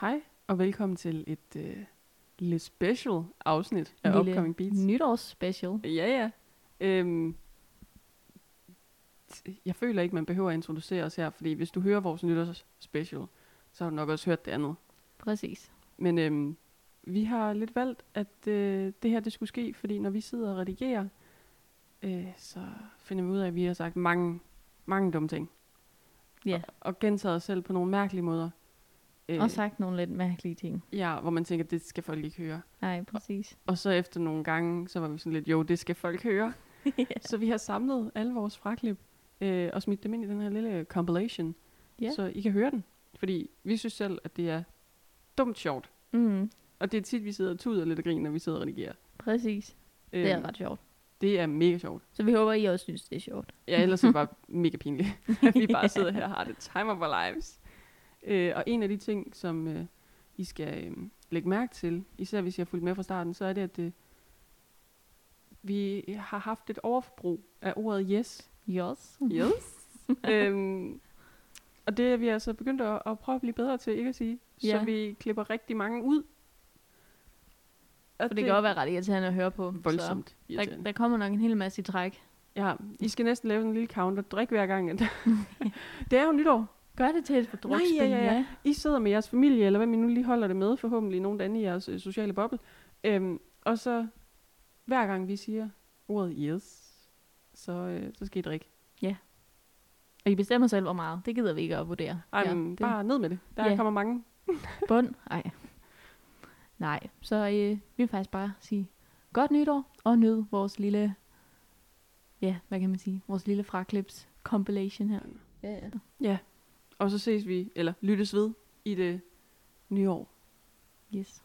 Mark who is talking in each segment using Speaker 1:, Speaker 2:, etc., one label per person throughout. Speaker 1: Hej, og velkommen til et øh, lille special afsnit af
Speaker 2: Lille
Speaker 1: Upcoming Beats.
Speaker 2: Nytårsspecial.
Speaker 1: Ja, ja. Øhm, t- jeg føler ikke, man behøver at introducere os her, fordi hvis du hører vores nytårsspecial, så har du nok også hørt det andet.
Speaker 2: Præcis.
Speaker 1: Men øhm, vi har lidt valgt, at øh, det her det skulle ske, fordi når vi sidder og redigerer, øh, så finder vi ud af, at vi har sagt mange, mange dumme ting.
Speaker 2: Ja.
Speaker 1: Og, og gentaget os selv på nogle mærkelige måder. Øh,
Speaker 2: Og sagt nogle lidt mærkelige ting.
Speaker 1: Ja, hvor man tænker, det skal folk ikke høre.
Speaker 2: Nej, præcis.
Speaker 1: Og så efter nogle gange, så var vi sådan lidt, jo, det skal folk høre. Så vi har samlet alle vores fraklip øh, og smidt dem ind i den her lille compilation,
Speaker 2: Ja.
Speaker 1: så I kan høre den. Fordi vi synes selv, at det er dumt sjovt.
Speaker 2: Mm,
Speaker 1: Og det er tit, vi sidder og tuder lidt og griner, når vi sidder og redigerer.
Speaker 2: præcis.
Speaker 1: Øh,
Speaker 2: Det er ret sjovt.
Speaker 1: det er mega sjovt.
Speaker 2: Så vi håber, I også synes, det er sjovt.
Speaker 1: Ja, ellers er det bare mega pinligt, at vi bare sidder her og har det time of our lives. Øh, og en af de ting, som øh, I skal øh, lægge mærke til, især hvis I har fulgt med fra starten, så er det, at øh, vi har haft et overforbrug af ordet yes.
Speaker 2: Yes.
Speaker 1: Yes. øhm, og det er vi altså begyndt at, at prøve at blive bedre til, ikke at sige? Så
Speaker 2: Ja.
Speaker 1: vi klipper rigtig mange ud. Og
Speaker 2: For det kan også være ret irriterende at høre på.
Speaker 1: voldsomt
Speaker 2: Så der,
Speaker 1: irriterende.
Speaker 2: der kommer nok en hel masse i træk.
Speaker 1: Ja, I skal næsten lave sådan en lille counter. Drik hver gang. at- det er jo nytår.
Speaker 2: Gør det til et fordrukspil,
Speaker 1: Nej, ja, ja, I sidder med jeres familie, eller hvad I nu lige holder det med, forhåbentlig nogen anden i jeres øh, sociale boble. Øhm, og så hver gang vi siger ordet yes, så, øh, så skal I drikke.
Speaker 2: Og I bestemmer selv, hvor meget. Det gider vi ikke at vurdere.
Speaker 1: Ej,
Speaker 2: ja,
Speaker 1: ja, men
Speaker 2: det-
Speaker 1: bare ned med det. Der
Speaker 2: Ja.
Speaker 1: kommer mange.
Speaker 2: Bund? Ej. Nej, så øh, vi vil faktisk bare sige godt nytår og nyd vores lille, ja, hvad kan man sige, vores lille fraklips compilation her. Ja, ja.
Speaker 1: Og så ses vi, eller lyttes ved, i det nye år.
Speaker 2: Yes.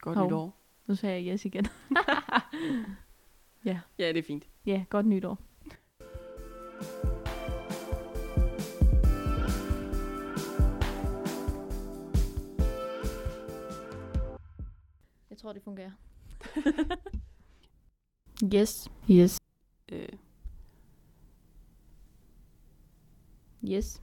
Speaker 1: Godt
Speaker 2: Hov.
Speaker 1: nytår.
Speaker 2: Nu sagde jeg yes igen.
Speaker 1: Ja, det er fint.
Speaker 2: ja, godt nytår. Jeg tror, det fungerer. yes. Yes.
Speaker 1: Øh,
Speaker 2: Yes.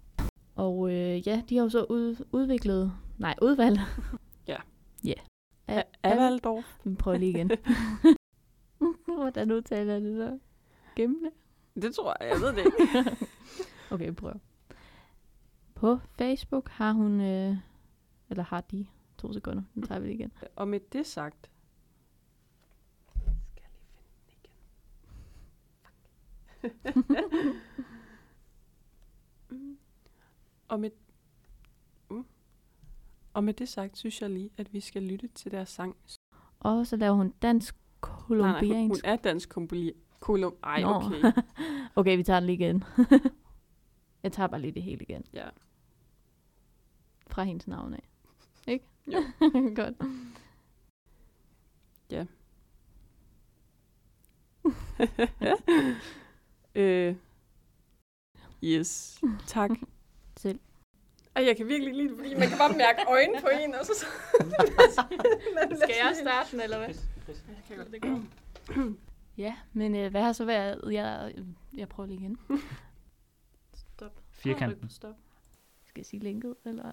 Speaker 2: Og øh, ja, de har jo så ud, udviklet... Nej, udvalg.
Speaker 1: Ja.
Speaker 2: Ja. Yeah.
Speaker 1: Avaldorf.
Speaker 2: Vi prøver lige igen. Hvordan udtaler jeg det så? Gemle?
Speaker 1: Det tror jeg, jeg ved det ikke.
Speaker 2: Okay, prøv. På Facebook har hun... Øh, eller har de... To sekunder. Nu tager vi det igen.
Speaker 1: Og med det sagt... Skal jeg lige finde den igen? Fuck. Mm. Og med... Mm. Og med det sagt, synes jeg lige, at vi skal lytte til deres sang.
Speaker 2: Og så laver hun dansk
Speaker 1: Nej, nej, hun, hun
Speaker 2: kolumbiansk.
Speaker 1: er dansk kolumbi... Kolum... Ej,
Speaker 2: Nå.
Speaker 1: okay.
Speaker 2: Okay, vi tager den lige igen. jeg tager bare lige det hele igen.
Speaker 1: Ja.
Speaker 2: Fra hendes navn af. Ikke?
Speaker 1: Jo.
Speaker 2: Godt.
Speaker 1: Øh. Yes. Tak.
Speaker 2: Selv.
Speaker 1: Og jeg kan virkelig ikke lide det, fordi man kan bare mærke øjnene på en, og så...
Speaker 2: Skal jeg starte den, eller hvad? ja, men øh, hvad har så været? Jeg, øh, jeg prøver lige igen.
Speaker 1: Ah,
Speaker 3: Firkanten.
Speaker 2: Stop. Skal jeg sige linket, eller?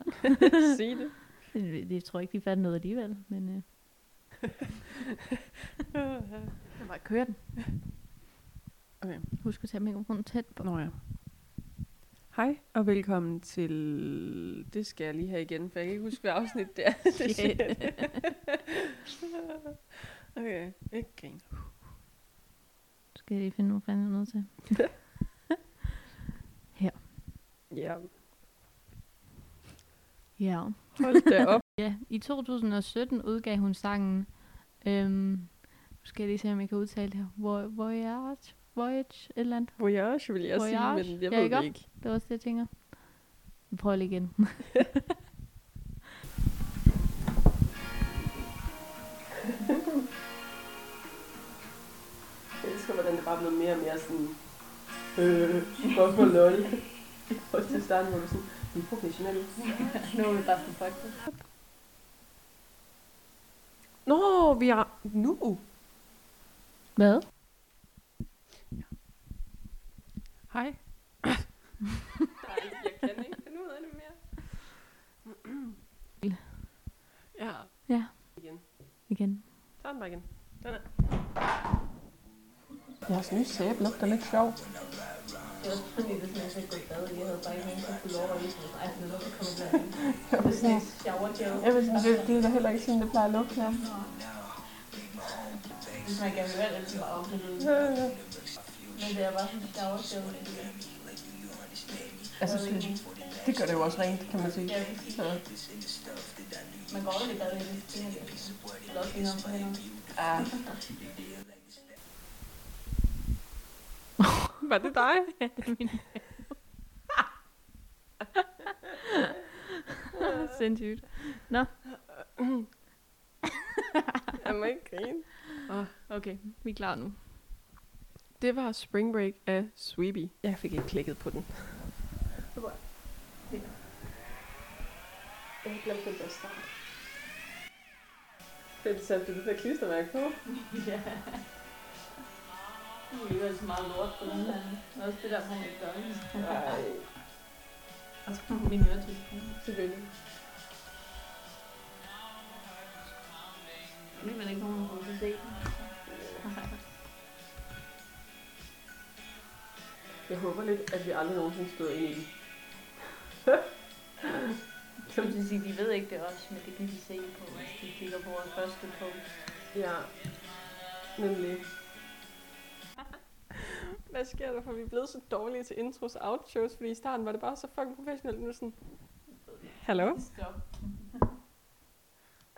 Speaker 1: Sige det.
Speaker 2: det, det tror jeg ikke, de fandt noget alligevel, men... Øh. jeg bare køre den.
Speaker 1: Okay.
Speaker 2: Husk at tage mikrofonen tæt på.
Speaker 1: Nå ja. Hej, og velkommen til... Det skal jeg lige have igen, for jeg kan ikke huske, hvad afsnit det er. Det siger jeg. okay, ikke grin.
Speaker 2: Nu skal jeg lige finde, hvor fanden jeg er nødt til.
Speaker 1: Ja,
Speaker 2: Ja.
Speaker 1: hold da op.
Speaker 2: Ja, i 2017 udgav hun sangen, øhm, nu skal jeg lige se, om jeg kan udtale det her, Vo- Voyage, Voyage, et eller andet.
Speaker 1: Voyage vil jeg
Speaker 2: Voyage.
Speaker 1: sige, men jeg
Speaker 2: Ja,
Speaker 1: ved
Speaker 2: ikke
Speaker 1: det
Speaker 2: op?
Speaker 1: ikke.
Speaker 2: Det var også det, jeg tænker. Vi prøver lige igen.
Speaker 1: blevet mere og mere sådan... Øh, hvorfor lol? Og til starten var du sådan, vi er professionelle.
Speaker 2: nu er vi bare på podcast.
Speaker 1: Nå, vi er... Nu!
Speaker 4: Hvad?
Speaker 1: Hej. jeg kan ikke finde ud af det mere. ja,
Speaker 4: Ja,
Speaker 1: igen.
Speaker 4: igen.
Speaker 1: Tag den bare igen. Den er. Jeres nye sæbe lugter lidt sjovt.
Speaker 2: Det var fordi, det smager så godt bad, jeg havde bare ikke nogen, der kunne lov at vise mig. Ej, men hvorfor kommer der ind?
Speaker 1: Jeg
Speaker 2: Det er sådan en shower gel.
Speaker 1: Jeg vil sige, det, det er da heller ikke sådan, det plejer at lugte her.
Speaker 2: Hvis man gerne vil være lidt bare oplevet. Men det er bare sådan en shower gel.
Speaker 1: Altså, det, det gør det jo også rent, kan man sige.
Speaker 2: Jeg vil sige,
Speaker 1: Så,
Speaker 2: man går aldrig i bad i det. Det er det. Eller også lige noget på hænderne.
Speaker 1: ah. Var det dig?
Speaker 4: Sindssygt.
Speaker 1: Jeg må ikke grine.
Speaker 4: Okay, vi er klar nu.
Speaker 1: Det var Spring Break af Sweetie. Jeg fik ikke klikket på den. Jeg har glemt den der start. Fedt, satte du det der klistermærke på?
Speaker 2: Ja. Det er jo så meget lort på den her. Men Også det der, man ikke gør. ikke?
Speaker 1: Nej,
Speaker 2: Og så min øretelefoner.
Speaker 1: selvfølgelig.
Speaker 2: Fordi man ikke nogen, der kunne se den.
Speaker 1: Jeg håber lidt, at vi aldrig nogensinde støder ind i den.
Speaker 2: Så vil sige, de ved ikke det også, men det kan de se på, hvis de kigger på vores første post.
Speaker 1: Ja, nemlig. Hvad sker der for, vi er blevet så dårlige til intros og outros, fordi i starten var det bare så fucking professionelt, nu er det sådan, hallo?
Speaker 2: Stop.